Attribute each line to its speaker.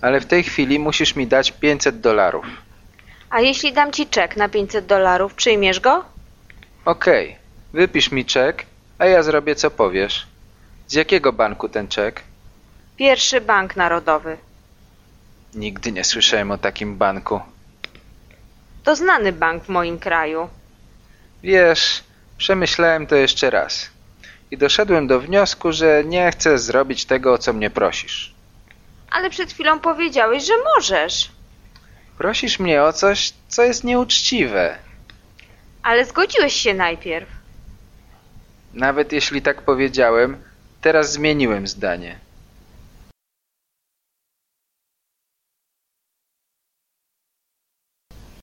Speaker 1: ale w tej chwili musisz mi dać 500 dolarów.
Speaker 2: A jeśli dam ci czek na 500 dolarów, przyjmiesz go?
Speaker 1: Okej, wypisz mi czek, a ja zrobię co powiesz. Z jakiego banku ten czek?
Speaker 2: Pierwszy bank narodowy.
Speaker 1: Nigdy nie słyszałem o takim banku.
Speaker 2: To znany bank w moim kraju.
Speaker 1: Wiesz, przemyślałem to jeszcze raz. I doszedłem do wniosku, że nie chcę zrobić tego, o co mnie prosisz.
Speaker 2: Ale przed chwilą powiedziałeś, że możesz.
Speaker 1: Prosisz mnie o coś, co jest nieuczciwe.
Speaker 2: Ale zgodziłeś się najpierw.
Speaker 1: Nawet jeśli tak powiedziałem, teraz zmieniłem zdanie.